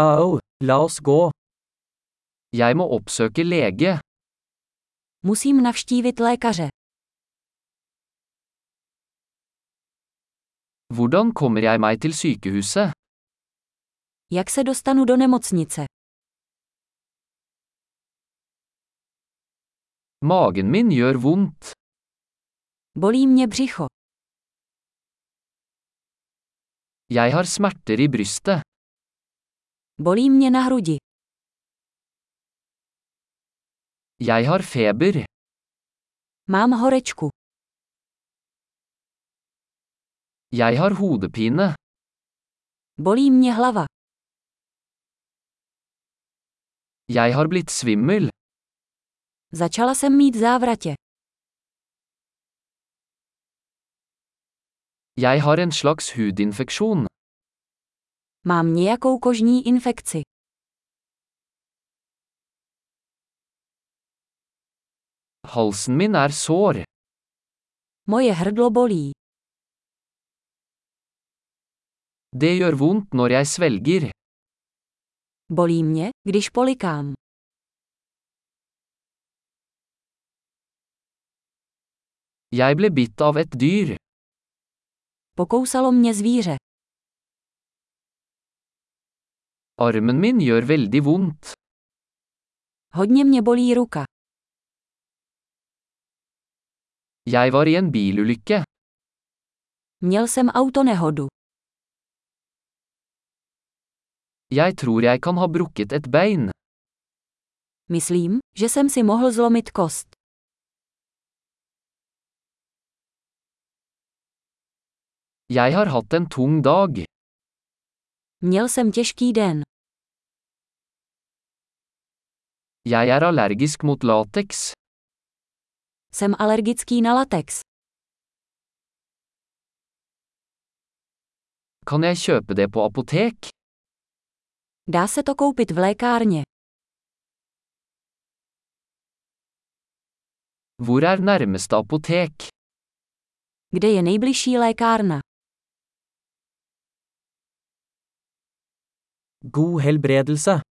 Au, la oss gå. Jeg må oppsøke lege. Musím navštívit lékaře. Hvordan kommer jeg meg til sykehuset? Jak se dostanu do nemocnice? Magen min gjør vondt. Bolí mě břicho. Jeg har smerter i brystet. Bolí mě na hrudi. Jeg har feber. Mám horečku. Jeg har hodepine. Bolí mě hlava. Jeg har blitt svimmel. Začala jsem mít závratě. Jeg har en slags hudinfeksjon. Mám nějakou kožní infekci. Halsen min er sår. Moje hrdlo bolí. Det gjør vondt når jeg svelger. Bolí mě, když polikám. Jeg ble bitt av et dyr. Pokousalo mě zvíře. Armen min gjør veldig vondt. Hodně mě bolí ruka. Jeg var i en bilulykke. Měl jsem autonehodu. Jeg tror jeg kan ha brukket et bein. Myslím, že jsem si mohl zlomit kost. Jeg har hatt en tung dag. Měl jsem těžký den. Jeg er allergisk mot lateks. Jsem alergický na latex. Kan jeg kjøpe det på apotek? Dá se to koupit v lékárně. Hvor er nærmeste apotek? Kde je nejbližší lékárna? God helbredelse!